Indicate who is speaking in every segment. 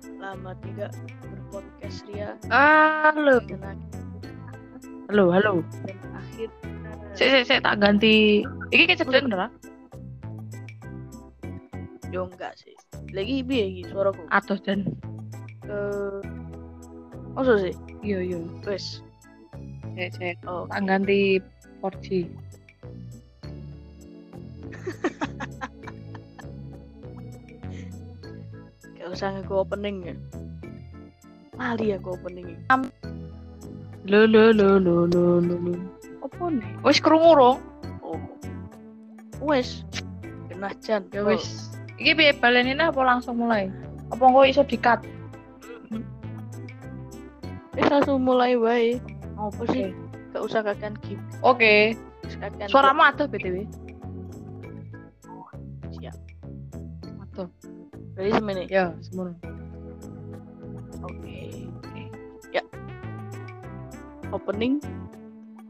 Speaker 1: selama tidak berpodcast Ria
Speaker 2: Halo,
Speaker 1: dan akhir-
Speaker 2: halo, halo.
Speaker 1: dan akhir
Speaker 2: Sik, sik, sik, tak ganti. Iki kejadian beneran?
Speaker 1: yo enggak sih lagi ibi lagi suaraku
Speaker 2: Atos dan
Speaker 1: eh maksud sih
Speaker 2: iya iya.
Speaker 1: wes
Speaker 2: Sik, sik.
Speaker 1: oh
Speaker 2: Tak ganti 4G.
Speaker 1: gak usah ngeku opening ya mali aku opening
Speaker 2: Lo lo lo lo lo lo lo.
Speaker 1: apa nih
Speaker 2: Wis krungu rong.
Speaker 1: oh wes kena jan
Speaker 2: Ya wis. Iki piye balenin apa langsung mulai? Apa engko iso dikat?
Speaker 1: Oh, Hmm. wes langsung mulai wae apa sih gak usah kakean gip
Speaker 2: Oke.
Speaker 1: kakean
Speaker 2: Suaramu atos BTW.
Speaker 1: siap
Speaker 2: Atos.
Speaker 1: jadi semenit
Speaker 2: Ya, semono.
Speaker 1: Oke. Ya. Opening.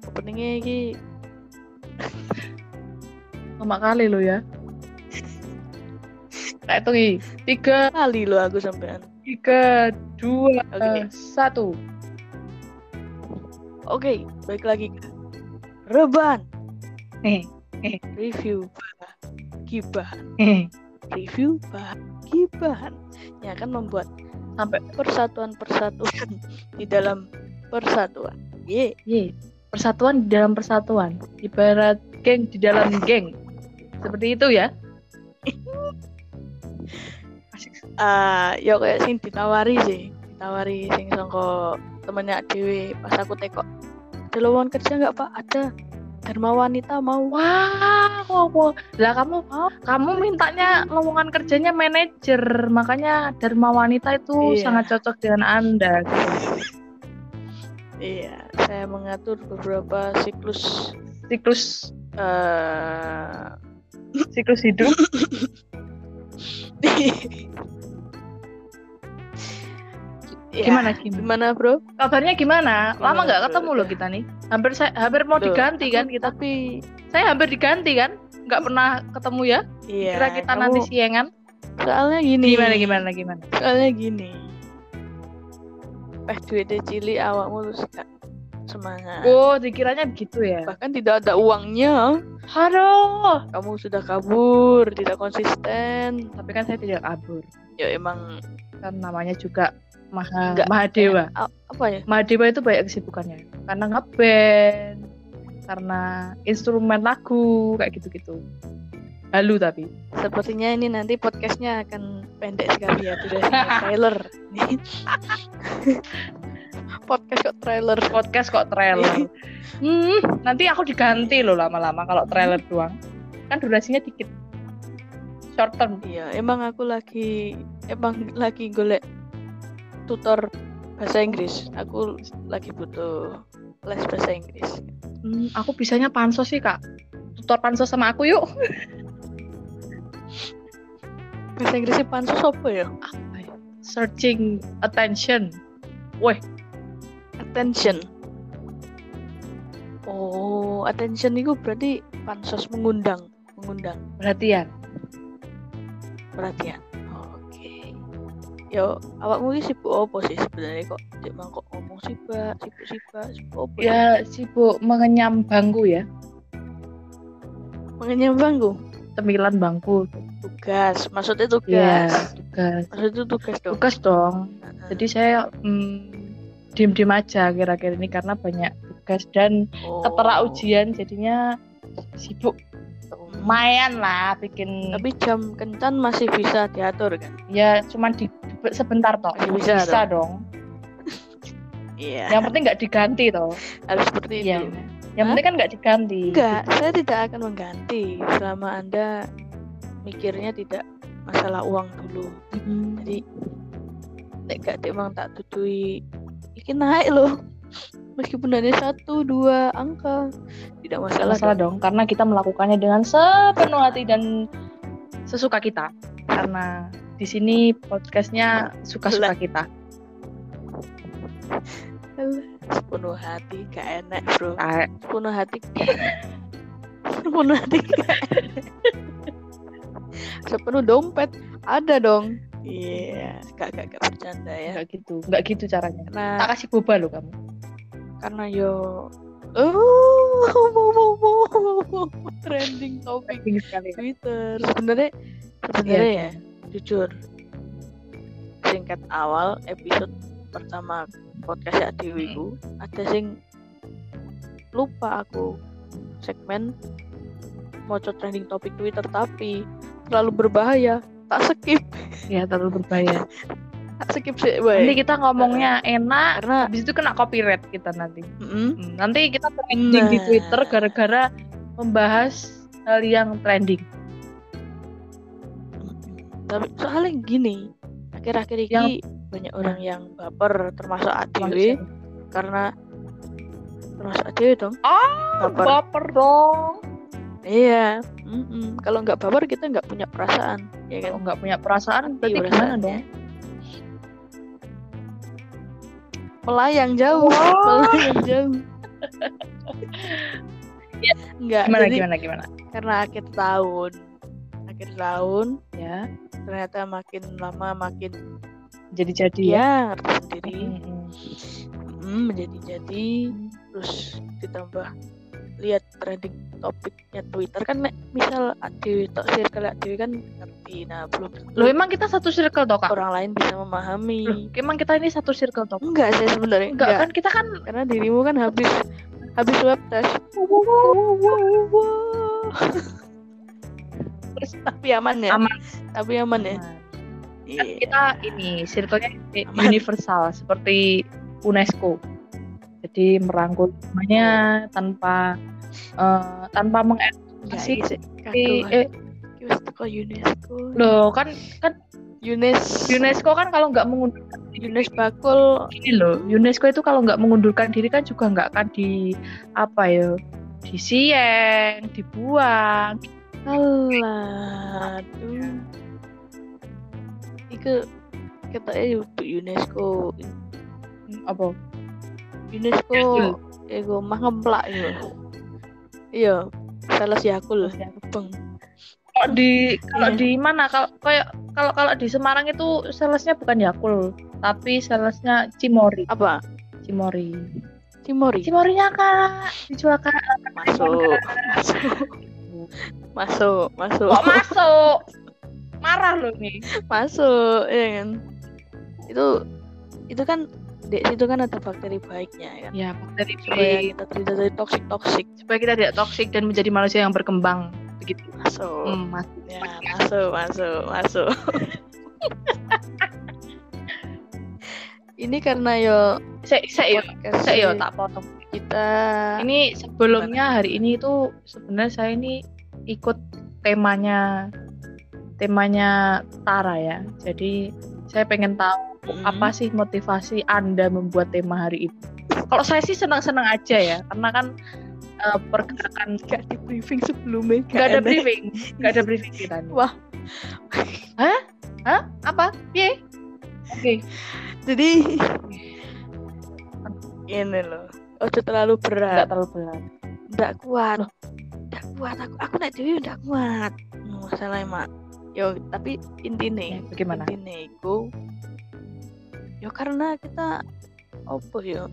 Speaker 1: Openingnya ini
Speaker 2: Lama kali lo ya. Tak hitung iki. Tiga,
Speaker 1: kali loh aku sampean.
Speaker 2: tiga, dua, eh,
Speaker 1: Oke.
Speaker 2: satu.
Speaker 1: Oke, baik lagi ke Reban Eh,
Speaker 2: Nih.
Speaker 1: review bah- gibahan
Speaker 2: Hehe.
Speaker 1: review bah gibahan yang akan membuat
Speaker 2: Sampai
Speaker 1: persatuan persatuan di dalam persatuan. Ye,
Speaker 2: Ye, persatuan di dalam persatuan, ibarat geng di dalam geng. Seperti itu ya.
Speaker 1: ah yo kayak sing ditawari sih, ditawari sing songko temennya Dewi pas aku tekok. Ada lowongan kerja nggak pak? Ada. Dharma wanita mau.
Speaker 2: Wah, wah, wah. Lah kamu
Speaker 1: Oh,
Speaker 2: kamu mintanya lowongan kerjanya manajer, makanya Dharma Wanita itu
Speaker 1: Iya.
Speaker 2: sangat cocok dengan Anda.
Speaker 1: Iya, saya mengatur beberapa siklus
Speaker 2: Siklus
Speaker 1: eh
Speaker 2: siklus hidup.
Speaker 1: ya,
Speaker 2: Gimana, gimana?
Speaker 1: Gimana, Bro?
Speaker 2: Kabarnya gimana? Lama
Speaker 1: Gimana,
Speaker 2: nggak ketemu
Speaker 1: Bro?
Speaker 2: loh kita nih. Hampir saya hampir mau
Speaker 1: Loh,
Speaker 2: diganti kan
Speaker 1: aku-
Speaker 2: kita.
Speaker 1: Tapi
Speaker 2: Saya hampir diganti kan? Nggak pernah ketemu ya?
Speaker 1: iya.
Speaker 2: Kira kita
Speaker 1: kamu- Nah.
Speaker 2: nanti siangan.
Speaker 1: soalnya gini.
Speaker 2: Gimana gimana gimana?
Speaker 1: Soalnya gini. Peh Eh, duitnya cilik awakmu terus gak semangat.
Speaker 2: Oh, dikiranya begitu ya.
Speaker 1: Bahkan tidak ada uangnya,
Speaker 2: Halo.
Speaker 1: kamu sudah kabur, tidak konsisten.
Speaker 2: tapi kan saya tidak kabur
Speaker 1: Ya emang
Speaker 2: kan namanya juga maha
Speaker 1: Nggak.
Speaker 2: mahadewa
Speaker 1: a- apa ya?
Speaker 2: mahadewa itu banyak kesibukannya karena ngeband karena instrumen lagu kayak gitu gitu halu tapi
Speaker 1: Sepertinya ini nanti podcastnya akan pendek sekali ya durasinya trailer. Podcast kok trailer.
Speaker 2: podcast kok trailer hmm, nanti aku diganti loh lama-lama kalau trailer doang kan durasinya dikit short term
Speaker 1: Iya, emang aku lagi emang lagi golek tutor bahasa Inggris. Aku lagi butuh les bahasa Inggris.
Speaker 2: Hmm, aku bisanya pansos sih kak tutor pansos sama aku yuk
Speaker 1: Bahasa Inggrisnya pansus apa ya?
Speaker 2: searching attention
Speaker 1: Attention. Oh, attention itu berarti pansos mengundang, mengundang
Speaker 2: perhatian
Speaker 1: perhatian. Oke. Yo, awakmu ini sibuk apa sih sebenarnya kok? Cek mangkok ngomong sibuk, sibuk, sibuk, sibuk apa? sih?
Speaker 2: ya sibuk mengenyam bangku ya
Speaker 1: Mengenyam bangku.
Speaker 2: cemilan bangku
Speaker 1: Tugas, maksudnya
Speaker 2: Iya,
Speaker 1: tugas.
Speaker 2: tugas.
Speaker 1: Maksudnya tugas dong.
Speaker 2: Tugas dong. Jadi saya mm, diem-diem aja akhir-akhir ini karena banyak tugas dan
Speaker 1: Oh.
Speaker 2: ketera ujian jadinya sibuk. Lumayan lah bikin
Speaker 1: Tapi jam kencan masih bisa diatur kan?
Speaker 2: ya cuman di sebentar toh.
Speaker 1: Masih bisa
Speaker 2: dong.
Speaker 1: Iya.
Speaker 2: Yang penting nggak diganti toh.
Speaker 1: Harus seperti
Speaker 2: Iya.
Speaker 1: itu. Hah?
Speaker 2: Yang penting kan nggak diganti.
Speaker 1: Enggak, saya tidak akan mengganti selama Anda mikirnya tidak masalah uang dulu.
Speaker 2: Mm.
Speaker 1: Jadi nek gak dek mang tak tutui iki naik loh. Meskipun hanya satu dua angka tidak masalah.
Speaker 2: Masalah dong karena kita melakukannya dengan sepenuh hati dan sesuka kita. Karena di sini podcastnya suka-suka kita.
Speaker 1: Alah, Sepenuh hati gak enak bro.
Speaker 2: Ah,
Speaker 1: Sepenuh hati. Sepenuh hati. Sepenuh dompet ada dong. Iya, gak gak gak bercanda ya.
Speaker 2: Enggak gitu, enggak gitu caranya.
Speaker 1: Karena
Speaker 2: Tak kasih boba loh kamu.
Speaker 1: Nah, karena yo Oh, mau mau mau mau trending topik
Speaker 2: Tinggi sekali.
Speaker 1: Twitter. Sebenarnya
Speaker 2: Iya,
Speaker 1: sebenarnya ya, jujur singkat awal episode pertama podcast ya Dewi ku, ada sing lupa aku segmen mau trending topik Twitter tapi terlalu berbahaya tak skip
Speaker 2: Ya terlalu berbahaya.
Speaker 1: tak skip sih
Speaker 2: Nanti
Speaker 1: baik
Speaker 2: kita ngomongnya enak,
Speaker 1: karena
Speaker 2: habis itu kena copyright kita nanti.
Speaker 1: mm,
Speaker 2: Hmm, Nanti kita trending di
Speaker 1: Nah.
Speaker 2: Twitter gara-gara membahas hal yang trending.
Speaker 1: tapi soalnya gini akhir-akhir ini
Speaker 2: Yang-
Speaker 1: banyak orang yang baper termasuk ADW karena termasuk ADW dong
Speaker 2: Ah,
Speaker 1: Baper.
Speaker 2: baper. dong.
Speaker 1: iya mm-mm. kalau nggak baper kita nggak punya perasaan ya kan
Speaker 2: Kalau nggak punya perasaan,
Speaker 1: Mati
Speaker 2: berarti gimana
Speaker 1: perasaannya.
Speaker 2: dong?
Speaker 1: melayang jauh
Speaker 2: Wah.
Speaker 1: melayang jauh nggak
Speaker 2: Ya, Gimana,
Speaker 1: jadi
Speaker 2: gimana, gimana?
Speaker 1: karena akhir tahun akhir tahun
Speaker 2: Ya,
Speaker 1: ternyata makin lama makin
Speaker 2: jadi-jadi ya.
Speaker 1: ya ngerti sendiri
Speaker 2: Mm-mm.
Speaker 1: Mm, menjadi jadi terus ditambah lihat trending topiknya Twitter kan nek misal di tok circle Dewi kan ngerti nah belum tentu
Speaker 2: Loh, emang kita satu circle toh, Kak?
Speaker 1: orang lain bisa memahami
Speaker 2: Loh, emang kita ini satu circle toh?
Speaker 1: enggak sih sebenarnya
Speaker 2: Enggak,
Speaker 1: enggak,
Speaker 2: kan kita kan
Speaker 1: karena dirimu kan habis habis web test tapi aman ya
Speaker 2: Aman.
Speaker 1: tapi aman ya
Speaker 2: Kan
Speaker 1: Iya.
Speaker 2: kita ini circle-nya i-
Speaker 1: Aman.
Speaker 2: universal seperti UNESCO. Jadi merangkul semuanya tanpa eh, tanpa
Speaker 1: Enggak,
Speaker 2: mengeksklusi
Speaker 1: iya sih. Kaduh,
Speaker 2: eh
Speaker 1: iki wis teko UNESCO
Speaker 2: loh kan kan
Speaker 1: Yunes
Speaker 2: UNESCO kan kalau nggak mengundurkan
Speaker 1: Yunes Bakul
Speaker 2: diri loh UNESCO itu kalau nggak mengundurkan diri kan juga nggak akan di apa ya disieng dibuang
Speaker 1: Alah,
Speaker 2: Iya.
Speaker 1: aduh. Iku katanya untuk UNESCO,
Speaker 2: apa
Speaker 1: UNESCO
Speaker 2: Yakul.
Speaker 1: iku mah ngeplak yo. Iya, salah si aku loh. Beng.
Speaker 2: kalau di kalau
Speaker 1: Iya.
Speaker 2: di mana kalau kayak kalau kalau di Semarang itu salesnya bukan Yakul tapi salesnya Cimori
Speaker 1: Apa?
Speaker 2: Cimori
Speaker 1: Cimori.
Speaker 2: Cimorinya kak dijual kak
Speaker 1: Masuk. Masuk. Masuk, masuk.
Speaker 2: kok masuk marah loh nih
Speaker 1: masuk, ya kan. Itu itu kan di situ kan ada bakteri baiknya ya kan.
Speaker 2: ya bakteri
Speaker 1: Supaya kita tidak dari toksik toksik
Speaker 2: supaya kita tidak toksik dan menjadi manusia yang berkembang begitu
Speaker 1: masuk.
Speaker 2: Hmm, mas-
Speaker 1: Ya, masuk, masuk, masuk. ini karena yo
Speaker 2: Se- se- yo,
Speaker 1: podcast
Speaker 2: se- yo, tak potong.
Speaker 1: kita
Speaker 2: Ini sebelumnya hari ini itu sebenarnya saya ini ikut temanya temanya Tara ya. Jadi saya pengen tahu
Speaker 1: Mm,
Speaker 2: apa sih motivasi Anda membuat tema hari ini. Kalau saya sih senang-senang aja ya, karena kan eh, pergerakan
Speaker 1: gak di briefing sebelumnya
Speaker 2: nggak ada
Speaker 1: enak.
Speaker 2: briefing, nggak ada briefing kita. nih.
Speaker 1: Wah.
Speaker 2: Hah? Hah? Apa? Piye? Oke.
Speaker 1: jadi ini loh Oh, udah terlalu
Speaker 2: Nggak
Speaker 1: berat
Speaker 2: terlalu berat.
Speaker 1: nggak
Speaker 2: Hmm.
Speaker 1: kuat
Speaker 2: Loh.
Speaker 1: nggak kuat aku aku naik dewi nggak kuat Hmm, masalah ya, mak yo tapi
Speaker 2: Ya,
Speaker 1: intinya
Speaker 2: bagaimana?
Speaker 1: intinya itu ya karena kita apa ya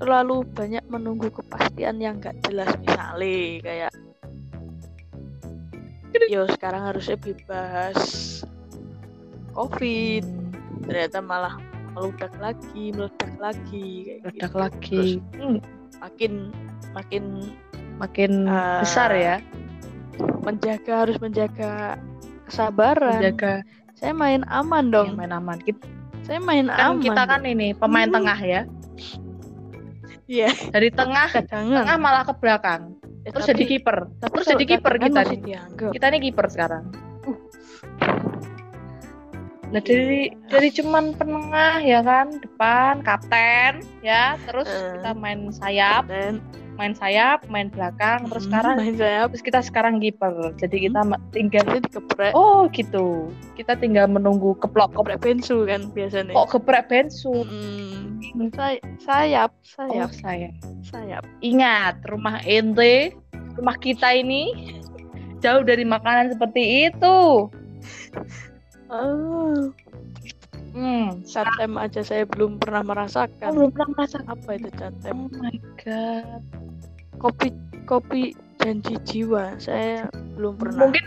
Speaker 1: terlalu banyak menunggu kepastian yang gak jelas misalnya kayak yo sekarang harusnya bebas covid
Speaker 2: Hmm.
Speaker 1: ternyata malah meludak lagi meledak lagi kayak
Speaker 2: meledak
Speaker 1: gitu.
Speaker 2: lagi Hmm,
Speaker 1: Terus makin makin
Speaker 2: makin
Speaker 1: Ah,
Speaker 2: besar ya
Speaker 1: menjaga harus menjaga kesabaran
Speaker 2: menjaga
Speaker 1: saya main aman dong
Speaker 2: yang main aman kita
Speaker 1: saya main
Speaker 2: kan
Speaker 1: aman
Speaker 2: kita kan ini pemain
Speaker 1: Hmm.
Speaker 2: tengah ya
Speaker 1: Iya.
Speaker 2: dari tengah
Speaker 1: cadangan
Speaker 2: tengah malah ke belakang
Speaker 1: Eh,
Speaker 2: terus
Speaker 1: tapi-
Speaker 2: jadi kiper
Speaker 1: tapi
Speaker 2: terus
Speaker 1: kalau
Speaker 2: jadi kiper
Speaker 1: cadangan
Speaker 2: kita
Speaker 1: masih
Speaker 2: nih
Speaker 1: dianggap.
Speaker 2: kita nih kiper sekarang
Speaker 1: Uh.
Speaker 2: nah dari
Speaker 1: Iya.
Speaker 2: dari cuman penengah ya kan depan kapten ya terus
Speaker 1: Eh.
Speaker 2: kita main sayap
Speaker 1: dan hmm,
Speaker 2: main sayap main belakang terus sekarang
Speaker 1: main sayap
Speaker 2: terus kita sekarang kiper jadi kita tinggal
Speaker 1: nanti dikeprek
Speaker 2: Oh gitu. Kita tinggal menunggu keplok keplok
Speaker 1: keprek bensu kan biasanya
Speaker 2: kok geprek bensu.
Speaker 1: Mm, say- sayap
Speaker 2: Oh,
Speaker 1: sayap
Speaker 2: saya.
Speaker 1: sayap
Speaker 2: Ingat rumah ente, rumah kita ini jauh dari makanan seperti itu.
Speaker 1: Oh,
Speaker 2: Hmm.
Speaker 1: catem aja saya belum pernah
Speaker 2: Aku
Speaker 1: merasakan.
Speaker 2: belum pernah merasakan.
Speaker 1: Apa itu catem?
Speaker 2: Oh my god.
Speaker 1: Kopi kopi janji jiwa. Saya belum pernah.
Speaker 2: Mungkin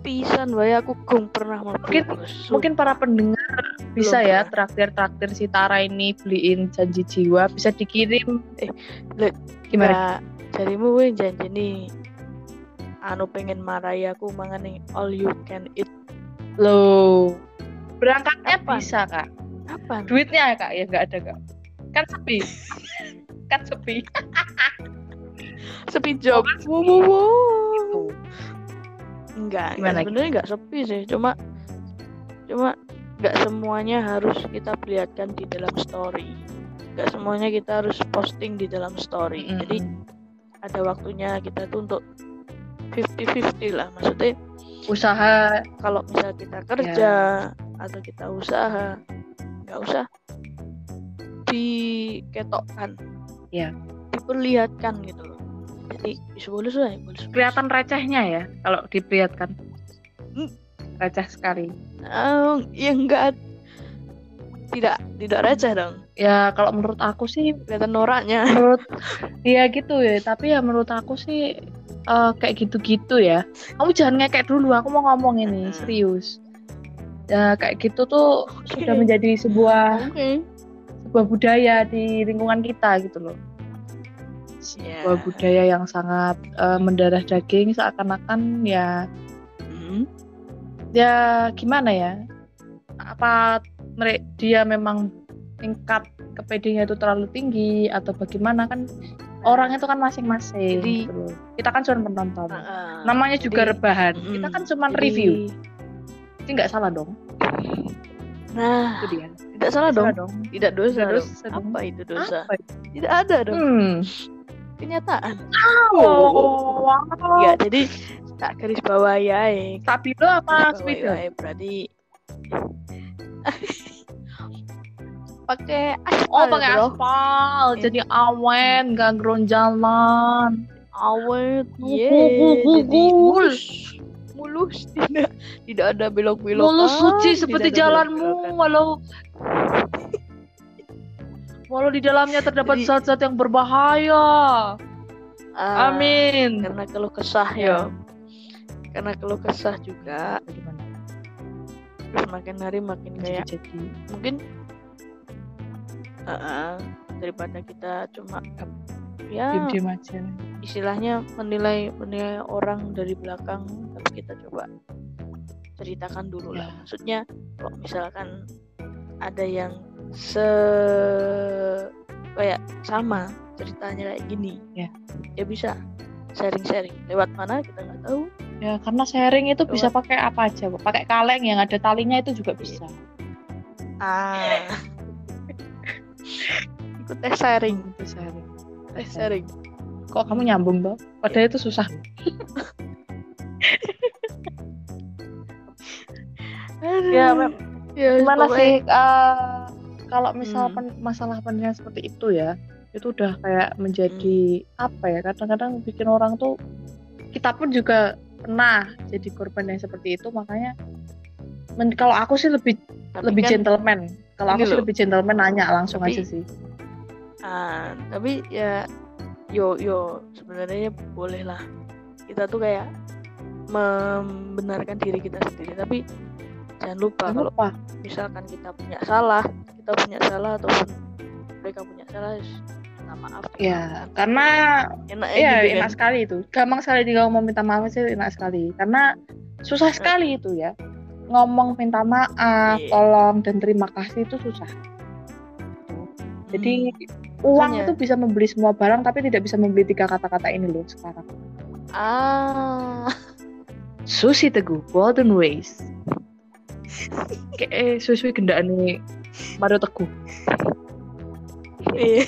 Speaker 1: pisan wae aku gong pernah mlebu.
Speaker 2: Mungkin-
Speaker 1: Sumpah.
Speaker 2: mungkin para pendengar bisa
Speaker 1: Belum
Speaker 2: ya
Speaker 1: pernah.
Speaker 2: traktir-traktir si Tara ini beliin janji jiwa bisa dikirim.
Speaker 1: Eh, le-
Speaker 2: gimana?
Speaker 1: Nah, jarimu kowe janji nih. Anu pengen marahi aku mangan nih all you can eat.
Speaker 2: Loh. Berangkatnya
Speaker 1: Kapan?
Speaker 2: bisa, Kak.
Speaker 1: Kapan?
Speaker 2: Duitnya, Kak, ya nggak ada, Kak. Kan sepi. kan sepi.
Speaker 1: Sepi job. Wow, wow, wow. Enggak,
Speaker 2: Gimana?
Speaker 1: enggak sebenarnya enggak sepi sih, cuma cuma enggak semuanya harus kita perlihatkan di dalam story. Enggak semuanya kita harus posting di dalam story. Jadi ada waktunya kita tuh untuk 50-50 lah maksudnya
Speaker 2: usaha
Speaker 1: kalau misal kita kerja
Speaker 2: Ya.
Speaker 1: atau kita usaha nggak usah diketokkan
Speaker 2: Ya.
Speaker 1: diperlihatkan gitu loh jadi boleh lah boleh
Speaker 2: kelihatan recehnya ya kalau diperlihatkan.
Speaker 1: Hmm.
Speaker 2: Receh sekali.
Speaker 1: oh ya enggak tidak tidak receh dong
Speaker 2: Ya kalau menurut aku sih
Speaker 1: kelihatan noraknya
Speaker 2: menurut ya gitu ya tapi ya menurut aku sih eh, kayak gitu-gitu ya kamu jangan ngekek dulu aku mau ngomong ini
Speaker 1: Mm-mm.
Speaker 2: serius ya kayak gitu tuh
Speaker 1: Oke.
Speaker 2: sudah menjadi sebuah
Speaker 1: oke
Speaker 2: sebuah budaya di lingkungan kita gitu loh
Speaker 1: Ya.
Speaker 2: sebuah budaya yang sangat eh, mendarah daging seakan-akan ya
Speaker 1: Hmm.
Speaker 2: ya gimana ya apa mere- dia memang tingkat kepedenya itu terlalu tinggi atau bagaimana kan orang itu kan masing-masing
Speaker 1: Jadi-
Speaker 2: gitu loh. kita kan cuma penonton
Speaker 1: Ah,
Speaker 2: namanya
Speaker 1: jadi-
Speaker 2: juga rebahan
Speaker 1: Mm-mm.
Speaker 2: kita kan cuma
Speaker 1: Jadi-
Speaker 2: Nah, review jadi nggak salah dong
Speaker 1: nah
Speaker 2: itu dia
Speaker 1: tidak Ah, salah
Speaker 2: Nggak
Speaker 1: dong
Speaker 2: dong
Speaker 1: tidak dosa,
Speaker 2: Nggak
Speaker 1: dong.
Speaker 2: dosa dong.
Speaker 1: apa itu dosa
Speaker 2: Apa itu?
Speaker 1: tidak ada dong
Speaker 2: hmm Oh.
Speaker 1: kenyataan
Speaker 2: wow, wow.
Speaker 1: ya jadi tak garis bawah ya eh.
Speaker 2: stabilo apa
Speaker 1: Garis bawah
Speaker 2: speedo
Speaker 1: ya, eh. berarti pakai aspal
Speaker 2: oh pakai
Speaker 1: bro.
Speaker 2: aspal
Speaker 1: Eh.
Speaker 2: jadi awen nggak jalan
Speaker 1: awet
Speaker 2: Gugul,
Speaker 1: ye
Speaker 2: gugul,
Speaker 1: Iya, jadi
Speaker 2: gugul.
Speaker 1: mulus mulus tidak tidak ada belok-belok
Speaker 2: mulus suci seperti jalanmu walau walau di dalamnya terdapat
Speaker 1: Jadi- Ah,
Speaker 2: zat-zat yang berbahaya
Speaker 1: amin
Speaker 2: amin
Speaker 1: karena keluh kesah
Speaker 2: Ya.
Speaker 1: ya karena keluh kesah juga terus makin hari makin
Speaker 2: Ya.
Speaker 1: kayak
Speaker 2: jadi
Speaker 1: mungkin uh-uh, daripada kita cuma ya
Speaker 2: diem aja
Speaker 1: istilahnya menilai menilai orang dari belakang tapi kita coba ceritakan dulu lah
Speaker 2: Ya.
Speaker 1: maksudnya kalau misalkan ada yang se kayak sama ceritanya kayak gini
Speaker 2: Ya.
Speaker 1: ya bisa sharing-sharing lewat mana kita nggak tahu
Speaker 2: ya karena sharing itu bisa pakai apa aja Pak. pakai kaleng yang ada talinya itu juga
Speaker 1: Iya.
Speaker 2: bisa
Speaker 1: ah ikut tes sharing
Speaker 2: itu sharing
Speaker 1: tes sharing
Speaker 2: kok kamu nyambung toh padahal itu susah Ya, Mem.
Speaker 1: ya
Speaker 2: gimana
Speaker 1: pokoknya-
Speaker 2: sih eh, kalau misal
Speaker 1: Hmm.
Speaker 2: pen- masalah penilaian seperti itu ya itu udah kayak menjadi
Speaker 1: Hmm.
Speaker 2: apa ya kadang-kadang bikin orang tuh kita pun juga pernah jadi korban yang seperti itu makanya men- kalau aku sih lebih
Speaker 1: Tapi
Speaker 2: lebih
Speaker 1: kan-
Speaker 2: gentleman kalau aku
Speaker 1: ini
Speaker 2: sih
Speaker 1: loh.
Speaker 2: lebih gentleman nanya langsung
Speaker 1: Tapi-
Speaker 2: aja sih
Speaker 1: Ah, tapi ya yo yo sebenarnya boleh lah kita tuh kayak membenarkan diri kita sendiri tapi jangan lupa
Speaker 2: Gak
Speaker 1: kalau
Speaker 2: apa
Speaker 1: misalkan kita punya salah kita punya salah ataupun mereka punya salah harus minta maaf
Speaker 2: ya karena
Speaker 1: enak gitu kan?
Speaker 2: ya enak sekali itu gampang sekali juga mau minta maaf sih enak sekali karena susah sekali itu ya ngomong minta maaf
Speaker 1: Eh. Iya.
Speaker 2: tolong dan terima kasih itu susah Jadi uang
Speaker 1: Makanya.
Speaker 2: itu bisa membeli semua barang tapi tidak bisa membeli tiga kata-kata ini loh sekarang.
Speaker 1: ah
Speaker 2: Susi Teguh Golden Ways. Kayak eh, susu gendaan ini Mario Teguh.
Speaker 1: iya.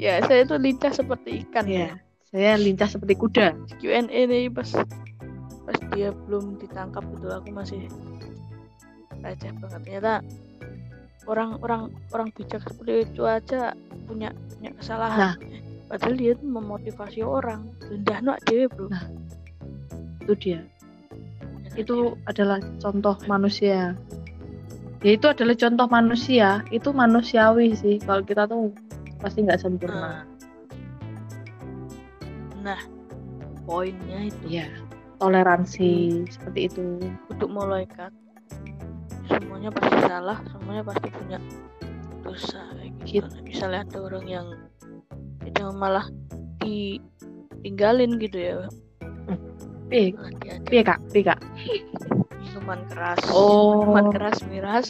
Speaker 1: ya saya tuh lincah seperti ikan ya.
Speaker 2: Iya. Saya lincah seperti kuda.
Speaker 1: Q&A nih pas pas dia belum ditangkap itu aku masih receh banget ternyata orang-orang orang bijak seperti itu aja punya punya
Speaker 2: Nah.
Speaker 1: kesalahan padahal dia tuh memotivasi orang rendah nak dewe bro
Speaker 2: Nah. Itu dia.
Speaker 1: ya
Speaker 2: Nah, itu adalah contoh manusia ya itu adalah contoh manusia itu manusiawi sih kalau kita tuh pasti
Speaker 1: Ah.
Speaker 2: nggak sempurna
Speaker 1: nah poinnya itu
Speaker 2: ya toleransi seperti itu
Speaker 1: untuk malaikat semuanya pasti salah semuanya pasti punya dosa kayak gitu.
Speaker 2: Gitu.
Speaker 1: Nah, misalnya ada orang yang yang malah ditinggalin gitu ya
Speaker 2: Pi,
Speaker 1: malah diajak
Speaker 2: pi kak, pi kak.
Speaker 1: minuman keras
Speaker 2: Oh.
Speaker 1: minuman keras miras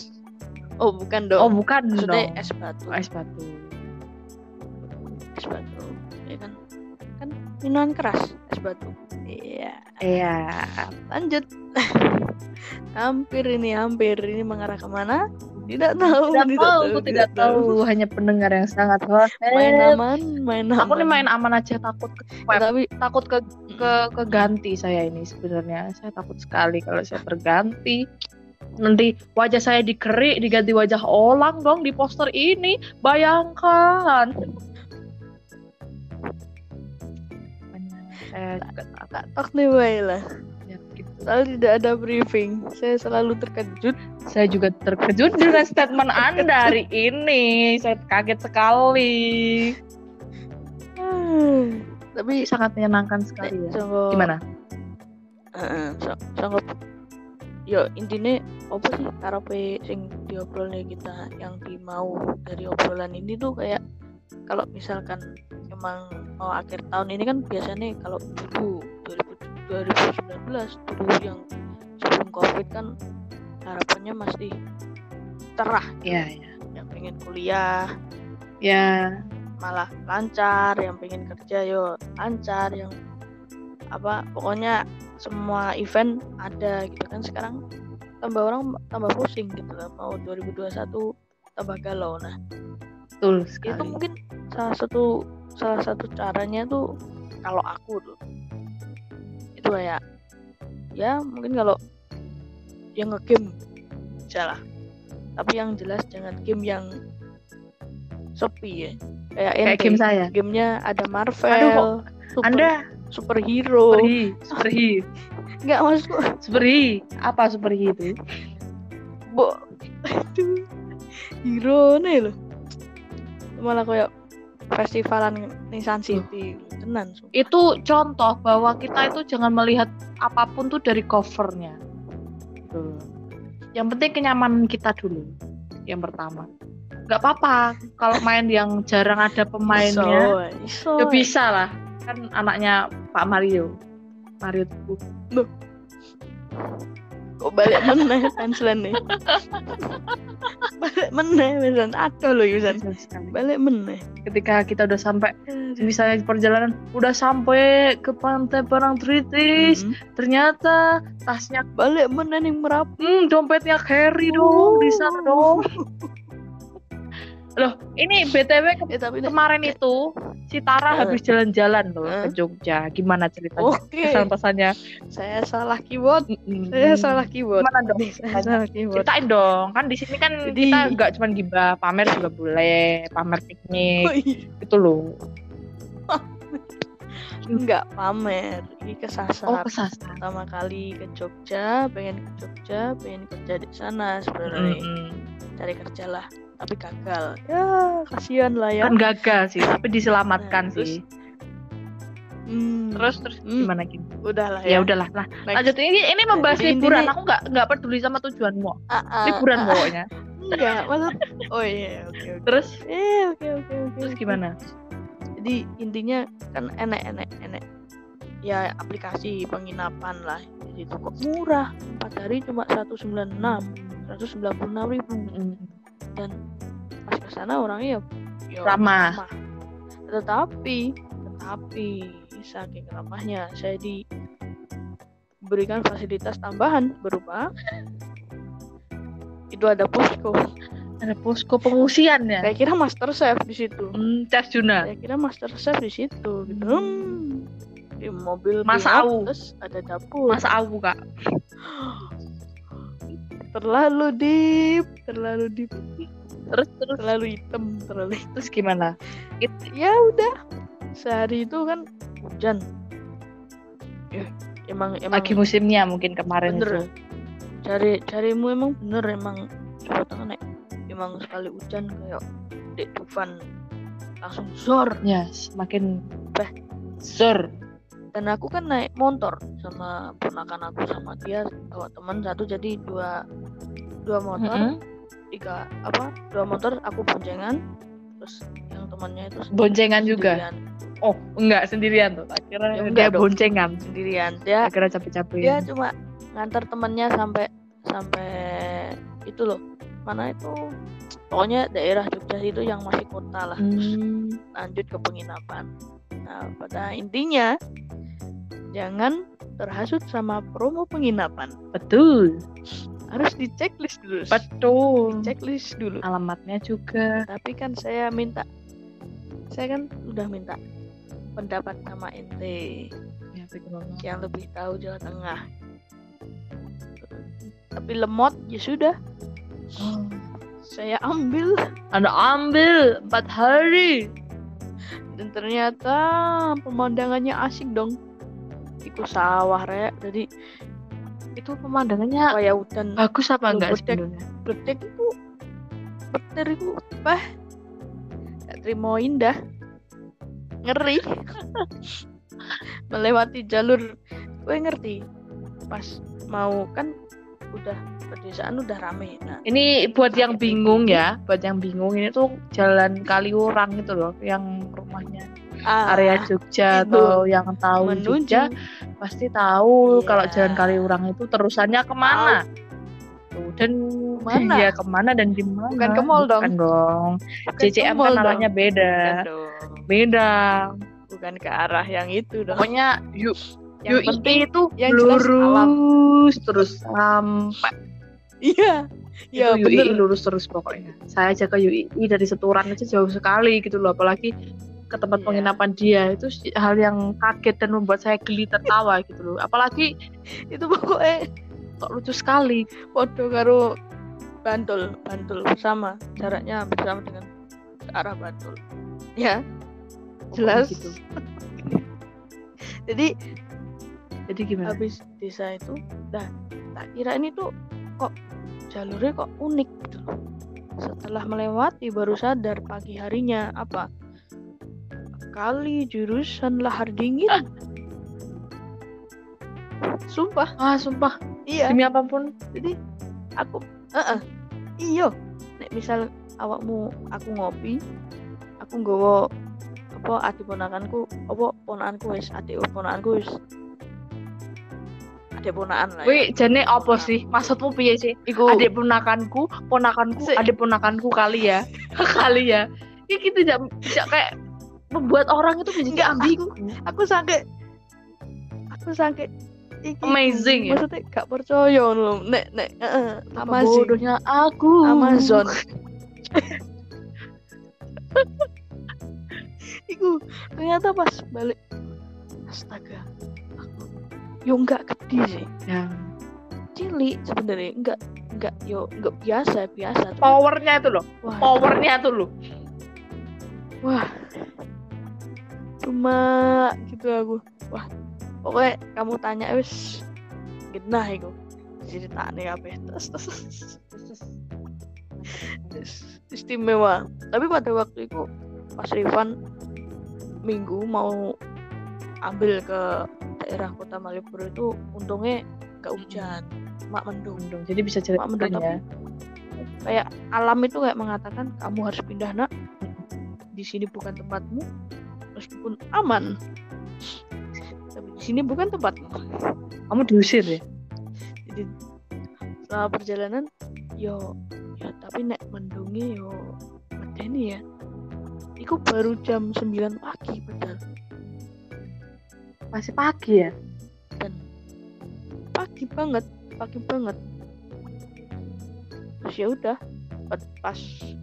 Speaker 1: oh bukan dong
Speaker 2: Oh bukan
Speaker 1: maksudnya
Speaker 2: dong.
Speaker 1: es batu
Speaker 2: Oh, es batu.
Speaker 1: es batu ya kan kan minuman keras es batu iya
Speaker 2: Iya.
Speaker 1: lanjut hampir ini hampir ini mengarah kemana tidak tahu
Speaker 2: Tidak tahu, aku tidak tahu. Hanya pendengar yang sangat hormat.
Speaker 1: main aman main aman
Speaker 2: Aku nih main aman aja takut ke
Speaker 1: Ya, tapi
Speaker 2: takut ke ke keganti saya ini sebenarnya. Saya takut sekali kalau saya terganti. Nanti wajah saya dikerik, diganti wajah orang dong di poster ini. Bayangkan. Makanya Saya juga takut
Speaker 1: tak nih Bay, lah
Speaker 2: ya, gitu.
Speaker 1: Lalu tidak ada briefing. Saya selalu terkejut.
Speaker 2: Saya juga terkejut dengan statement Anda hari ini. Saya kaget sekali.
Speaker 1: Hmm. Tapi
Speaker 2: Ini sangat menyenangkan
Speaker 1: Nah,
Speaker 2: sekali ya.
Speaker 1: sanggup-
Speaker 2: Gimana?
Speaker 1: Heeh, so- sanggup. Yo ya, intinya apa sih karepe sing diobrolnya kita yang dimau dari obrolan ini tuh kayak kalau misalkan emang mau akhir tahun ini kan biasanya kalau dulu 2000 2019 dulu yang sebelum covid kan harapannya masih cerah
Speaker 2: Ya, ya.
Speaker 1: yang pengen kuliah
Speaker 2: Ya,
Speaker 1: malah lancar yang pengen kerja yo lancar yang apa pokoknya semua event ada gitu kan sekarang tambah orang tambah pusing gitu lah mau 2021 tambah galau nah
Speaker 2: betul
Speaker 1: itu
Speaker 2: sekali.
Speaker 1: mungkin salah satu salah satu caranya tuh kalau aku tuh itu kayak ya mungkin kalau yang nge-game salah tapi yang jelas jangan game yang sepi ya kayak,
Speaker 2: Kayak
Speaker 1: ente,
Speaker 2: game saya.
Speaker 1: gamenya ada Marvel,
Speaker 2: Aduh,
Speaker 1: super,
Speaker 2: Anda Oh.
Speaker 1: superhero,
Speaker 2: superhi, superhi,
Speaker 1: nggak maksudku,
Speaker 2: superhi. Apa superhi itu?
Speaker 1: bo, aduh, hero nih loh, malah kayak festivalan Nissan City, tenan, sumpah.
Speaker 2: Itu contoh bahwa kita itu jangan melihat apapun tuh dari covernya. Tuh. Yang penting kenyamanan kita dulu. Yang pertama. Gak apa-apa kalau main yang jarang ada pemainnya.
Speaker 1: iso,
Speaker 2: Ya
Speaker 1: iso.
Speaker 2: bisa lah, kan anaknya Pak Mario. Mario Teguh.
Speaker 1: kok balik meneh pensilan nih, balik meneh, Yusan, aduh loh Yusan,
Speaker 2: Kasihan sekali.
Speaker 1: balik meneh,
Speaker 2: Ketika kita udah sampai, misalnya di perjalanan, udah sampai ke pantai Parang Tritis,
Speaker 1: Mm,
Speaker 2: ternyata tasnya,
Speaker 1: balik meneh nih merapi,
Speaker 2: hmm, dompetnya carry dong, di sana
Speaker 1: Oh.
Speaker 2: dong. Loh, ini BTW ke-
Speaker 1: ya tapi nih,
Speaker 2: kemarin itu, si Tara
Speaker 1: Eh.
Speaker 2: habis jalan-jalan loh
Speaker 1: Eh.
Speaker 2: ke Jogja. Gimana ceritanya?
Speaker 1: oke,
Speaker 2: Kesan-pesannya.
Speaker 1: saya salah keyboard,
Speaker 2: Mm-mm.
Speaker 1: saya Eh, salah keyboard,
Speaker 2: Gimana dong?
Speaker 1: saya salah keyboard.
Speaker 2: ceritain dong kan di sini kan
Speaker 1: Jadi-
Speaker 2: kita nggak cuma gibah pamer juga boleh pamer
Speaker 1: Oh,
Speaker 2: piknik
Speaker 1: iya.
Speaker 2: gitu loh
Speaker 1: Enggak pamer, ini kesasar.
Speaker 2: oh kesasar
Speaker 1: Pertama kali ke Jogja, pengen ke Jogja, pengen kerja di sana sebenarnya.
Speaker 2: Mm-mm.
Speaker 1: Cari kerja lah, tapi gagal. Ya, kasihan lah ya.
Speaker 2: kan gagal sih tapi diselamatkan
Speaker 1: Nah, terus-
Speaker 2: sih
Speaker 1: Hmm,
Speaker 2: terus terus
Speaker 1: Hmm.
Speaker 2: gimana gitu
Speaker 1: udahlah
Speaker 2: ya
Speaker 1: ya.
Speaker 2: udahlah lah
Speaker 1: Next.
Speaker 2: lanjut ini ini membahas
Speaker 1: Jadi
Speaker 2: liburan
Speaker 1: intinya-
Speaker 2: aku nggak nggak peduli sama tujuanmu
Speaker 1: Ah, ah,
Speaker 2: liburan
Speaker 1: ah,
Speaker 2: pokoknya
Speaker 1: enggak, maksud Oh iya, oke oke.
Speaker 2: terus
Speaker 1: Eh, oke oke oke.
Speaker 2: terus gimana
Speaker 1: Jadi intinya kan enek-enek enek. Ya aplikasi penginapan lah. Jadi itu kok murah. 4 hari cuma 196, 196 ribu.
Speaker 2: Mm-mm.
Speaker 1: dan pas ke sana orangnya ya, ya
Speaker 2: ramah
Speaker 1: tetapi tetapi saking ramahnya saya diberikan fasilitas tambahan berupa itu ada posko
Speaker 2: ada posko pengungsian ya
Speaker 1: saya kira master chef di situ
Speaker 2: hmm, Chef Juna
Speaker 1: saya kira master chef di situ gitu hmm. di mobil
Speaker 2: Mas
Speaker 1: pickup,
Speaker 2: Au.
Speaker 1: terus ada dapur
Speaker 2: masa aku kak
Speaker 1: terlalu deep terlalu deep
Speaker 2: terus terus
Speaker 1: terlalu hitam terlalu
Speaker 2: terus gimana
Speaker 1: ya udah sehari itu kan hujan ya, ya emang emang
Speaker 2: lagi musimnya mungkin kemarin itu.
Speaker 1: bener cari carimu emang bener emang Jawa Tengah nek emang sekali hujan kayak dek Dufan langsung zor
Speaker 2: Ya, semakin
Speaker 1: Bah.
Speaker 2: Zor.
Speaker 1: dan aku kan naik motor sama ponakan aku sama dia bawa teman satu jadi dua dua motor
Speaker 2: Mm-mm.
Speaker 1: tiga apa dua motor aku boncengan terus yang temannya itu
Speaker 2: Boncengan juga.
Speaker 1: sendirian
Speaker 2: Oh, enggak sendirian tuh.
Speaker 1: Ya,
Speaker 2: Akhirnya dia
Speaker 1: enggak dong.
Speaker 2: boncengan.
Speaker 1: sendirian Ya, dia
Speaker 2: Akhirnya capek-capek.
Speaker 1: dia cuma ngantar temannya sampai sampai itu loh mana itu pokoknya daerah Jogja itu yang masih kota lah terus
Speaker 2: Hmm.
Speaker 1: lanjut ke penginapan nah pada intinya jangan terhasut sama promo penginapan
Speaker 2: Betul.
Speaker 1: harus di checklist dulu
Speaker 2: Betul.
Speaker 1: checklist dulu
Speaker 2: Alamatnya juga.
Speaker 1: tapi kan saya minta saya kan udah minta pendapat sama ente
Speaker 2: Ya, betul banget.
Speaker 1: yang lebih tahu Jawa Tengah tapi lemot ya sudah
Speaker 2: Oh.
Speaker 1: saya ambil
Speaker 2: Anda ambil empat hari.
Speaker 1: dan ternyata pemandangannya asik dong itu sawah rek jadi
Speaker 2: Itu pemandangannya
Speaker 1: kayak hutan
Speaker 2: bagus apa enggak
Speaker 1: Lembut, Dek.
Speaker 2: sebenarnya?
Speaker 1: bledek itu petir itu bah gak terima indah ngeri melewati jalur gue ngerti pas mau kan udah pedesaan udah rame nah
Speaker 2: Ini buat yang
Speaker 1: Pakai
Speaker 2: bingung ya, buat yang bingung ini tuh jalan Kaliurang itu loh, yang rumahnya
Speaker 1: ah,
Speaker 2: area Jogja
Speaker 1: itu.
Speaker 2: atau yang tahu
Speaker 1: menuju
Speaker 2: Jogja pasti tahu
Speaker 1: Iya.
Speaker 2: kalau jalan Kaliurang itu terusannya kemana Tuh, dan
Speaker 1: Kemana?
Speaker 2: iya, kemana dan di mana
Speaker 1: Bukan ke mall dong.
Speaker 2: Bukan dong
Speaker 1: bukan ke
Speaker 2: CCM kan
Speaker 1: mall dong.
Speaker 2: arahnya beda
Speaker 1: Bukan dong.
Speaker 2: beda
Speaker 1: bukan ke arah yang itu dong
Speaker 2: pokoknya yuk
Speaker 1: yang
Speaker 2: yuk
Speaker 1: penting
Speaker 2: itu
Speaker 1: yang jelas alam.
Speaker 2: lurus terus sampai
Speaker 1: iya iya
Speaker 2: itu UI
Speaker 1: bener
Speaker 2: lurus terus pokoknya saya aja ke UI dari Seturan aja jauh sekali gitu loh apalagi ke tempat
Speaker 1: Iya.
Speaker 2: penginapan dia itu hal yang kaget dan membuat saya geli tertawa gitu loh apalagi
Speaker 1: itu pokoknya
Speaker 2: kok lucu sekali
Speaker 1: podo karo Bantul Bantul sama jaraknya hampir sama dengan ke arah Bantul ya
Speaker 2: Pokoknya
Speaker 1: jelas
Speaker 2: gitu.
Speaker 1: jadi
Speaker 2: jadi gimana
Speaker 1: habis desa itu dah tak kira ini tuh kok jalurnya kok unik gitu loh. setelah melewati baru sadar pagi harinya apa kali jurusan lahar dingin sumpah
Speaker 2: ah sumpah
Speaker 1: iya
Speaker 2: demi apapun
Speaker 1: jadi aku Heeh. iyo nek misal awakmu aku ngopi aku nggawa apa adik ponakanku apa ponakanku wis adik ponakanku wis adik ponaan lah ya.
Speaker 2: Wih, jane apa sih? Maksudmu piye sih?
Speaker 1: iku
Speaker 2: Nah, Adik ponakanku, ponakanku,
Speaker 1: Se-
Speaker 2: adik ponakanku kali ya. kali ya. Ini kita tidak tidak kayak membuat orang itu
Speaker 1: Nggak,
Speaker 2: menjadi ambigu.
Speaker 1: aku sange aku sange iki
Speaker 2: Amazing ya?
Speaker 1: maksudnya gak percaya lho nek nek heeh, amazing
Speaker 2: Bodohnya aku.
Speaker 1: Amazon. Iku ternyata pas balik astaga. Aku yo enggak gede sih.
Speaker 2: Ya.
Speaker 1: Cilik sebenarnya enggak enggak yo enggak biasa biasa. Cuma-
Speaker 2: Powernya itu loh.
Speaker 1: wah,
Speaker 2: Powernya itu loh.
Speaker 1: wah. Cuma gitu aku. Wah. Pokoknya kamu tanya wis genah iku. Ceritane kabeh. Terus terus, terus. istimewa tapi pada waktu itu Mas Rifan minggu mau ambil ke daerah kota Malioboro itu untungnya nggak hujan cuma mendung
Speaker 2: Mendung. Jadi bisa
Speaker 1: cuma mendung
Speaker 2: ceritain
Speaker 1: tapi
Speaker 2: ya.
Speaker 1: kayak alam itu kayak mengatakan kamu harus pindah nak di sini bukan tempatmu meskipun aman tapi di sini bukan tempatmu
Speaker 2: Kamu diusir ya?
Speaker 1: jadi selama perjalanan yo ya tapi nek mendungnya yo medeni ya Iku baru jam 9 pagi padahal
Speaker 2: Masih pagi ya?
Speaker 1: dan pagi banget pagi banget terus ya udah pas- pas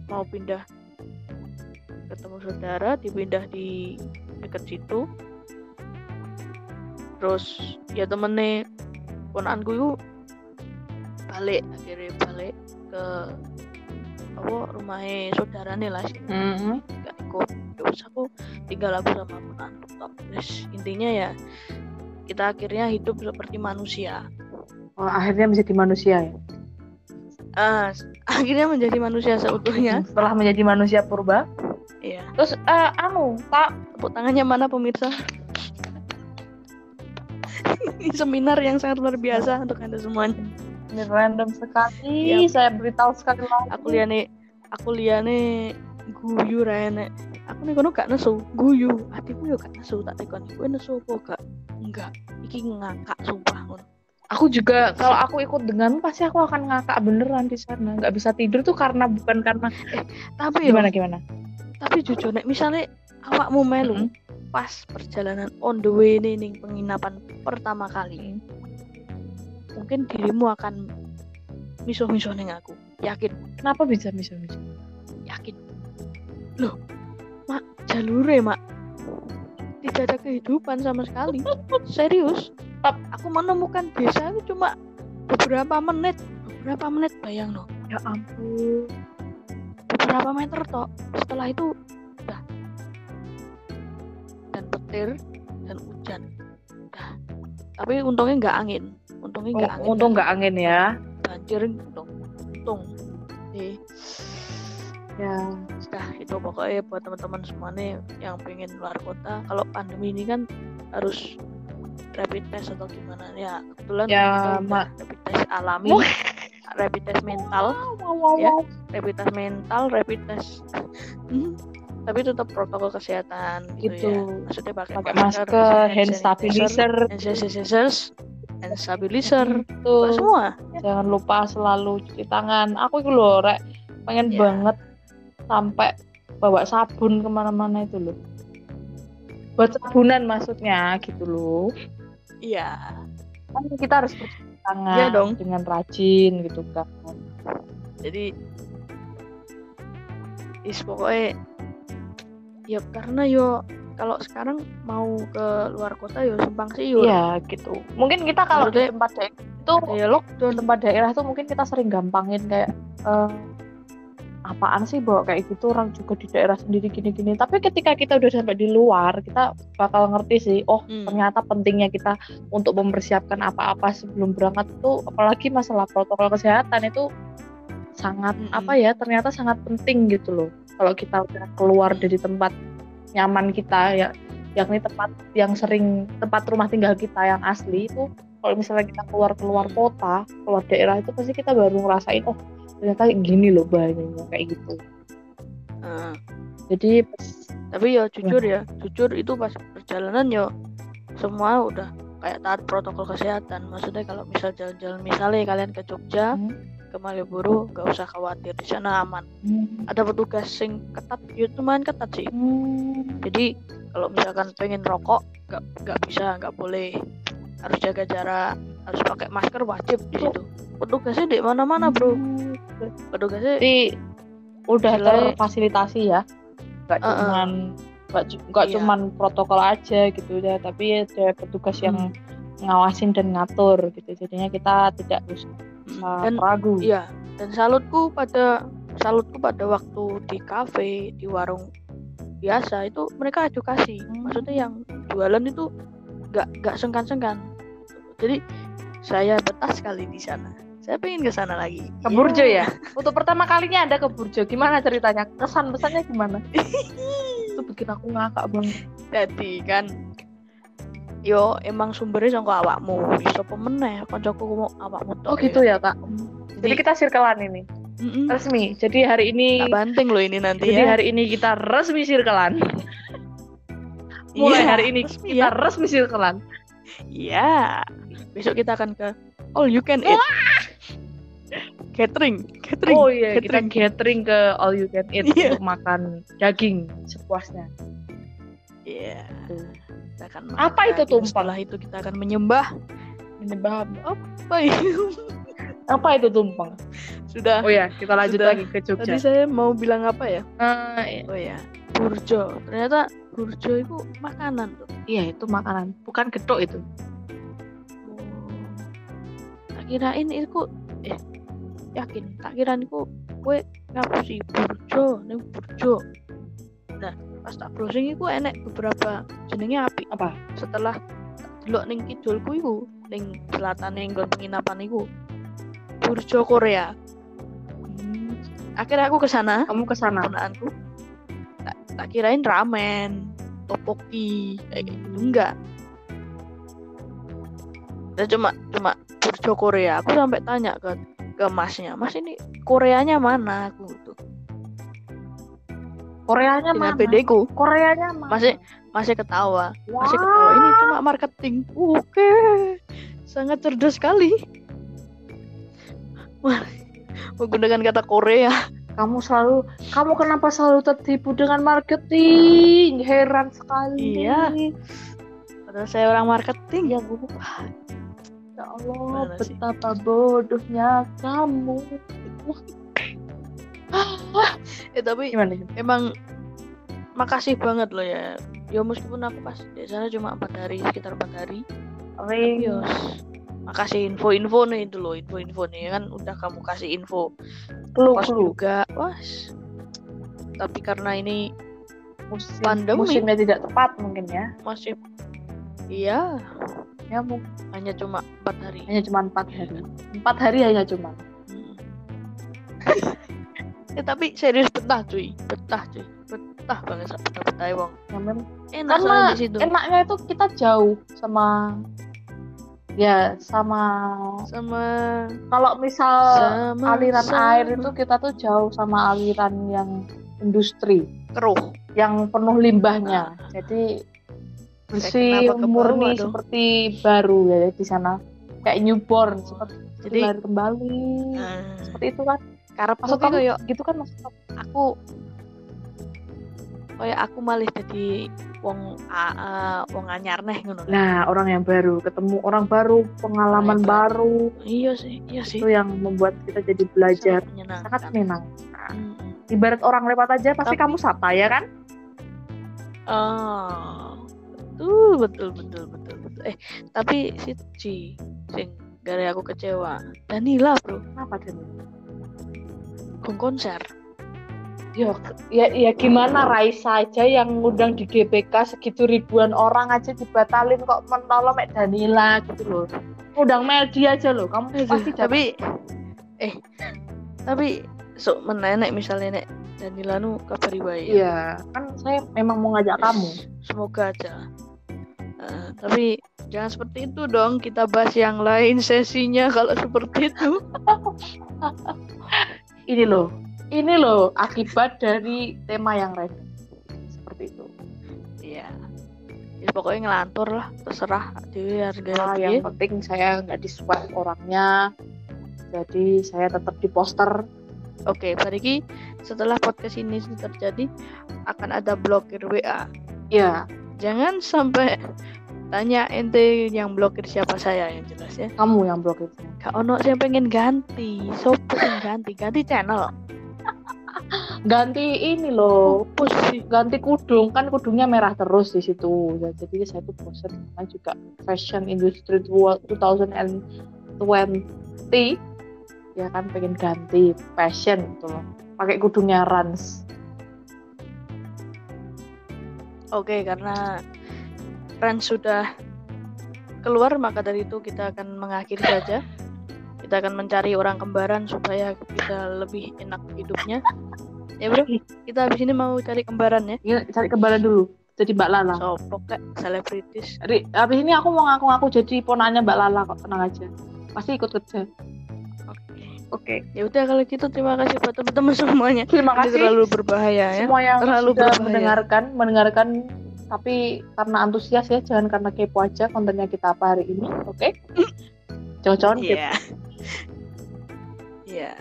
Speaker 1: mau pindah ketemu saudara dipindah di deket situ terus ya temennya ponakanku itu balik akhirnya balik ke apa rumahnya saudaranya lah sini
Speaker 2: Hmm. Mm-hmm.
Speaker 1: gak anu, ikut terus aku tinggal aku sama ponakan tok terus intinya ya kita akhirnya hidup seperti manusia
Speaker 2: Oh, akhirnya menjadi manusia ya.
Speaker 1: Ah, s- akhirnya menjadi manusia seutuhnya
Speaker 2: Hmm, Setelah menjadi manusia purba.
Speaker 1: iya
Speaker 2: Terus eh, anu, tak
Speaker 1: tepuk tangannya mana pemirsa ini seminar yang sangat luar biasa untuk anda semuanya
Speaker 2: ini random sekali. Saya beritahu sekali lagi.
Speaker 1: aku liane aku liane guyu rene aku nih kono gak nesu guyu hatiku yo gak nesu tak tekon kowe nesu apa gak enggak iki ngakak sumpah ngono
Speaker 2: Aku juga kalau aku ikut dengan pasti aku akan ngakak beneran di sana. Nggak bisa tidur tuh karena bukan karena eh,
Speaker 1: tapi yo
Speaker 2: gimana gimana.
Speaker 1: tapi jujur nek misalnya awakmu melu
Speaker 2: Mm-mm.
Speaker 1: pas perjalanan on the way nih ning penginapan pertama kali mungkin dirimu akan misuh-misuh ning aku yakin
Speaker 2: Kenapa bisa bisa bisa?
Speaker 1: yakin loh mak jalure mak tidak ada kehidupan sama sekali serius Tap, aku menemukan desa itu cuma beberapa menit beberapa menit bayang no
Speaker 2: Ya ampun.
Speaker 1: beberapa meter tok setelah itu udah dan petir dan hujan udah tapi untungnya nggak angin untungnya nggak angin
Speaker 2: Oh, untung nggak angin ya.
Speaker 1: nggak banjir untung untung Jadi,
Speaker 2: Ya.
Speaker 1: sudah itu pokoknya buat teman-teman semua nih yang pengen luar kota kalau pandemi ini kan harus rapid test atau gimana ya kebetulan
Speaker 2: Ya,
Speaker 1: kita udah
Speaker 2: Mak.
Speaker 1: rapid test alami
Speaker 2: Wah.
Speaker 1: rapid test mental
Speaker 2: Wow, wow,
Speaker 1: Ya.
Speaker 2: wow.
Speaker 1: rapid test mental rapid test Hmm. tapi tetap protokol kesehatan gitu,
Speaker 2: Gitu.
Speaker 1: ya maksudnya pakai,
Speaker 2: Pakai masker, hand stabilizer. Gitu.
Speaker 1: hand sanitizer hand stabilizer
Speaker 2: Tuh.
Speaker 1: Buat semua
Speaker 2: jangan lupa selalu cuci tangan aku itu loh rek pengen
Speaker 1: Ya.
Speaker 2: banget sampai bawa sabun kemana-mana itu loh buat sabunan maksudnya gitu loh
Speaker 1: iya
Speaker 2: kan kita harus cuci tangan
Speaker 1: Iya dong.
Speaker 2: dengan rajin gitu kan
Speaker 1: jadi is pokoknya ya karena yo kalau sekarang mau ke luar kota yo simpang siur
Speaker 2: iya gitu mungkin kita kalau di
Speaker 1: Menurutnya-
Speaker 2: tempat daerah itu
Speaker 1: ya lo
Speaker 2: di tempat daerah tuh mungkin kita sering gampangin kayak eh, apaan sih bawa kayak gitu orang juga di daerah sendiri gini-gini tapi ketika kita udah sampai di luar kita bakal ngerti sih oh
Speaker 1: Hmm.
Speaker 2: ternyata pentingnya kita untuk mempersiapkan apa-apa sebelum berangkat itu apalagi masalah protokol kesehatan itu sangat
Speaker 1: Mm-mm.
Speaker 2: apa ya ternyata sangat penting gitu loh kalau kita udah keluar dari tempat nyaman kita ya yakni tempat yang sering tempat rumah tinggal kita yang asli itu kalau misalnya kita keluar keluar kota keluar daerah itu pasti kita baru ngerasain oh ternyata gini loh bahayanya kayak gitu Hmm.
Speaker 1: Nah,
Speaker 2: jadi pes-
Speaker 1: tapi ya jujur ya jujur itu pas perjalanan yo semua udah kayak taat protokol kesehatan maksudnya kalau misal jalan-jalan misalnya kalian ke Jogja
Speaker 2: Hmm.
Speaker 1: ke Malioboro gak usah khawatir di sana aman
Speaker 2: Hmm.
Speaker 1: ada petugas sing ketat ya lumayan ketat sih jadi kalau misalkan pengen rokok nggak nggak bisa nggak boleh harus jaga jarak harus pakai masker wajib di situ petugasnya di mana mana bro
Speaker 2: Hmm.
Speaker 1: petugasnya
Speaker 2: Jadi udah
Speaker 1: Istilahnya-
Speaker 2: terfasilitasi ya. Gak
Speaker 1: Uh-uh.
Speaker 2: cuman gak, cu- gak
Speaker 1: Iya.
Speaker 2: cuman protokol aja gitu ya, tapi ada petugas yang
Speaker 1: Hmm.
Speaker 2: ngawasin dan ngatur gitu. Jadinya kita tidak usah
Speaker 1: dan
Speaker 2: ragu.
Speaker 1: iya dan salutku pada salutku pada waktu di kafe di warung biasa itu mereka edukasi
Speaker 2: Hmm.
Speaker 1: maksudnya yang jualan itu nggak nggak sengkan-sengkan jadi saya betah sekali di sana saya pengen ke sana lagi Iya,
Speaker 2: Ke Burjo ya. Untuk pertama kalinya Anda ke Burjo, gimana ceritanya? Kesan pesannya gimana? Itu bikin aku ngakak banget.
Speaker 1: Jadi kan yo emang sumbernya sangka awakmu. Iso pemeneh kancaku mau awakmu tok.
Speaker 2: Oh gitu ya, Kak. Jadi kita circlean ini
Speaker 1: mm
Speaker 2: resmi. Jadi hari ini
Speaker 1: banting loh ini nanti ya.
Speaker 2: jadi hari ini kita resmi circlean. Mulai
Speaker 1: Iya,
Speaker 2: hari ini
Speaker 1: resmi
Speaker 2: kita
Speaker 1: ya.
Speaker 2: resmi circlean.
Speaker 1: Iya. Besok kita akan ke All You Can Eat. Catering, catering.
Speaker 2: Oh iya,
Speaker 1: catering.
Speaker 2: kita catering ke all you can eat
Speaker 1: Iya.
Speaker 2: untuk makan daging sepuasnya.
Speaker 1: Iya. Kita akan
Speaker 2: Apa itu
Speaker 1: tuh?
Speaker 2: tumpeng?
Speaker 1: Setelah itu kita akan menyembah.
Speaker 2: Menyembah apa?
Speaker 1: Baik.
Speaker 2: Apa itu tumpeng?
Speaker 1: Sudah.
Speaker 2: Oh ya, kita lanjut
Speaker 1: Sudah.
Speaker 2: lagi ke
Speaker 1: Tadi
Speaker 2: Jogja.
Speaker 1: saya mau bilang apa ya?
Speaker 2: Eh, i-
Speaker 1: Oh ya, burjo. Ternyata burjo itu makanan tuh.
Speaker 2: iya itu makanan, bukan getuk itu.
Speaker 1: tak kirain itu eh yakin tak kirain ku kue ngapusi burjo neng burjo nah pas tak browsing iku enek beberapa jenenge api
Speaker 2: Apa?
Speaker 1: setelah delok ning kidulku iku, ning selatan ning nggon penginapan iku. Burjo Korea.
Speaker 2: Hmm.
Speaker 1: Akhirnya aku ke sana,
Speaker 2: Kamu ke sana.
Speaker 1: keponakanku. Tak, tak kirain ramen, topoki, kayak gitu enggak. Dan cuma cuma Burjo Korea. Aku sampai tanya ke ke masnya, Mas ini Koreanya mana aku tuh.
Speaker 2: Koreanya
Speaker 1: Dengan
Speaker 2: mana?
Speaker 1: PD-ku
Speaker 2: Koreanya mana?
Speaker 1: masih masih ketawa.
Speaker 2: Wah,
Speaker 1: masih ketawa ini cuma marketing oke sangat cerdas sekali Wah, menggunakan kata Korea
Speaker 2: kamu selalu kamu kenapa selalu tertipu dengan marketing? Heran sekali.
Speaker 1: Iya. padahal saya orang
Speaker 2: Iya,
Speaker 1: marketing ya bu
Speaker 2: Ya Allah,
Speaker 1: Gimana sih?
Speaker 2: betapa bodohnya kamu.
Speaker 1: eh tapi
Speaker 2: Gimana?
Speaker 1: emang makasih banget loh ya ya meskipun aku pas di sana cuma empat hari sekitar empat hari
Speaker 2: Ring.
Speaker 1: Yos. makasih info-info nih itu loh info-info nih kan udah kamu kasih info
Speaker 2: Clue,
Speaker 1: kos
Speaker 2: clue.
Speaker 1: juga was tapi karena ini
Speaker 2: Musim,
Speaker 1: Pandemi.
Speaker 2: musimnya tidak tepat mungkin ya.
Speaker 1: masih iya
Speaker 2: Ya mungkin
Speaker 1: hanya cuma empat hari
Speaker 2: hanya cuma empat
Speaker 1: Iya.
Speaker 2: hari. Empat hari hanya cuma.
Speaker 1: Hmm. eh tapi serius betah cuy, betah cuy, betah banget sama betah betah wong.
Speaker 2: Yang memang
Speaker 1: Enak
Speaker 2: Karena
Speaker 1: soalnya di situ.
Speaker 2: Ya, enaknya itu kita jauh sama ya sama
Speaker 1: Sama
Speaker 2: kalau misal
Speaker 1: sama
Speaker 2: Eh, aliran
Speaker 1: sama
Speaker 2: air itu kita tuh jauh sama aliran yang industri
Speaker 1: keruh.
Speaker 2: yang penuh limbahnya jadi bersih
Speaker 1: Ah. kenapa ke bawah
Speaker 2: murni
Speaker 1: dong?
Speaker 2: seperti baru ya di sana kayak newborn seperti
Speaker 1: Jadi
Speaker 2: baru kembali
Speaker 1: eh,
Speaker 2: seperti itu kan
Speaker 1: karena
Speaker 2: maksud
Speaker 1: aku
Speaker 2: kamu
Speaker 1: kayak
Speaker 2: gitu kan maksud kamu
Speaker 1: aku kayak aku malah jadi wong AA, wong anyar neh ngono.
Speaker 2: nah orang yang baru ketemu orang baru pengalaman
Speaker 1: Orang yang
Speaker 2: baru
Speaker 1: Iya sih, iya sih.
Speaker 2: itu yang membuat kita jadi belajar
Speaker 1: Sangat
Speaker 2: sangat
Speaker 1: menyenangkan.
Speaker 2: menyenangkan
Speaker 1: Mm.
Speaker 2: ibarat orang lewat aja pasti
Speaker 1: Tapi-
Speaker 2: kamu sapa ya kan
Speaker 1: Oh, betul, betul, betul, betul, betul. Eh, tapi siji sing gara aku kecewa. Danila, Bro,
Speaker 2: kenapa Dani?
Speaker 1: gong konser.
Speaker 2: Ya, ya, ya gimana Raisa aja yang ngundang di GBK segitu ribuan orang aja dibatalin kok mentolo Mek Danila gitu loh. Ngundang media aja loh, kamu pasti jadi
Speaker 1: tapi eh tapi sok menenek misalnya nek Danila nu kabari wae. ya.
Speaker 2: Iya, kan saya memang mau ngajak kamu.
Speaker 1: Semoga aja. Eh, tapi jangan seperti itu dong. Kita bahas yang lain sesinya kalau seperti itu.
Speaker 2: Ini loh, ini loh akibat dari tema yang random. Seperti itu.
Speaker 1: Iya. Ya, pokoknya ngelantur lah, terserah dewe harga
Speaker 2: Nah, yang penting saya nggak di swipe orangnya. Jadi saya tetap di poster.
Speaker 1: Oke, Bariki, setelah podcast ini terjadi, akan ada blokir WA.
Speaker 2: Ya,
Speaker 1: Jangan sampai tanya ente yang blokir siapa saya yang jelas ya.
Speaker 2: kamu yang blok itu.
Speaker 1: Kak Ono saya pengen ganti, sopo sing ganti, ganti channel.
Speaker 2: Ganti ini loh,
Speaker 1: Opo sih?
Speaker 2: ganti kudung kan kudungnya merah terus di situ Ya, jadi saya tuh bosen sama juga fashion industry 2020 ya kan pengen ganti fashion gitu loh pakai kudungnya Rans
Speaker 1: Oke, karena Ran sudah keluar maka dari itu kita akan mengakhiri saja. Kita akan mencari orang kembaran supaya kita lebih enak hidupnya. Ya bro, kita habis ini mau cari kembaran ya.
Speaker 2: ini cari kembaran dulu jadi Mbak Lala
Speaker 1: Sopo kek, selebritis.
Speaker 2: Ri, abis ini aku mau ngaku-ngaku jadi ponanya Mbak Lala kok tenang aja pasti ikut kerja oke
Speaker 1: Ya udah kalau gitu terima kasih buat teman-teman semuanya.
Speaker 2: terima
Speaker 1: Ini
Speaker 2: kasih
Speaker 1: terlalu berbahaya ya.
Speaker 2: semua yang
Speaker 1: Terlalu
Speaker 2: sudah
Speaker 1: berbahaya.
Speaker 2: mendengarkan mendengarkan tapi karena antusias ya jangan karena kepo aja kontennya kita apa hari ini oke Jangan-jangan kita-
Speaker 1: Iya. Iya.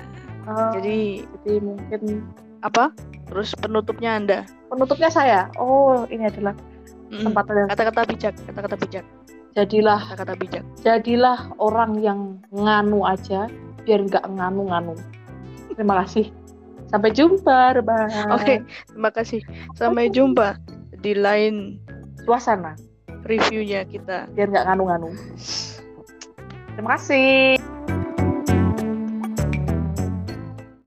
Speaker 2: eh, jadi,
Speaker 1: Jadi
Speaker 2: mungkin
Speaker 1: apa? Terus penutupnya Anda.
Speaker 2: penutupnya saya oh ini adalah
Speaker 1: Mm.
Speaker 2: kesempatan yang
Speaker 1: Kata-kata bijak, kata-kata bijak,
Speaker 2: jadilah
Speaker 1: kata-kata bijak.
Speaker 2: jadilah orang yang nganu aja biar nggak nganu-nganu terima kasih sampai jumpa rebahan
Speaker 1: Oke, terima kasih. Sampai jumpa di lain
Speaker 2: suasana
Speaker 1: reviewnya kita.
Speaker 2: biar nggak nganu-nganu terima kasih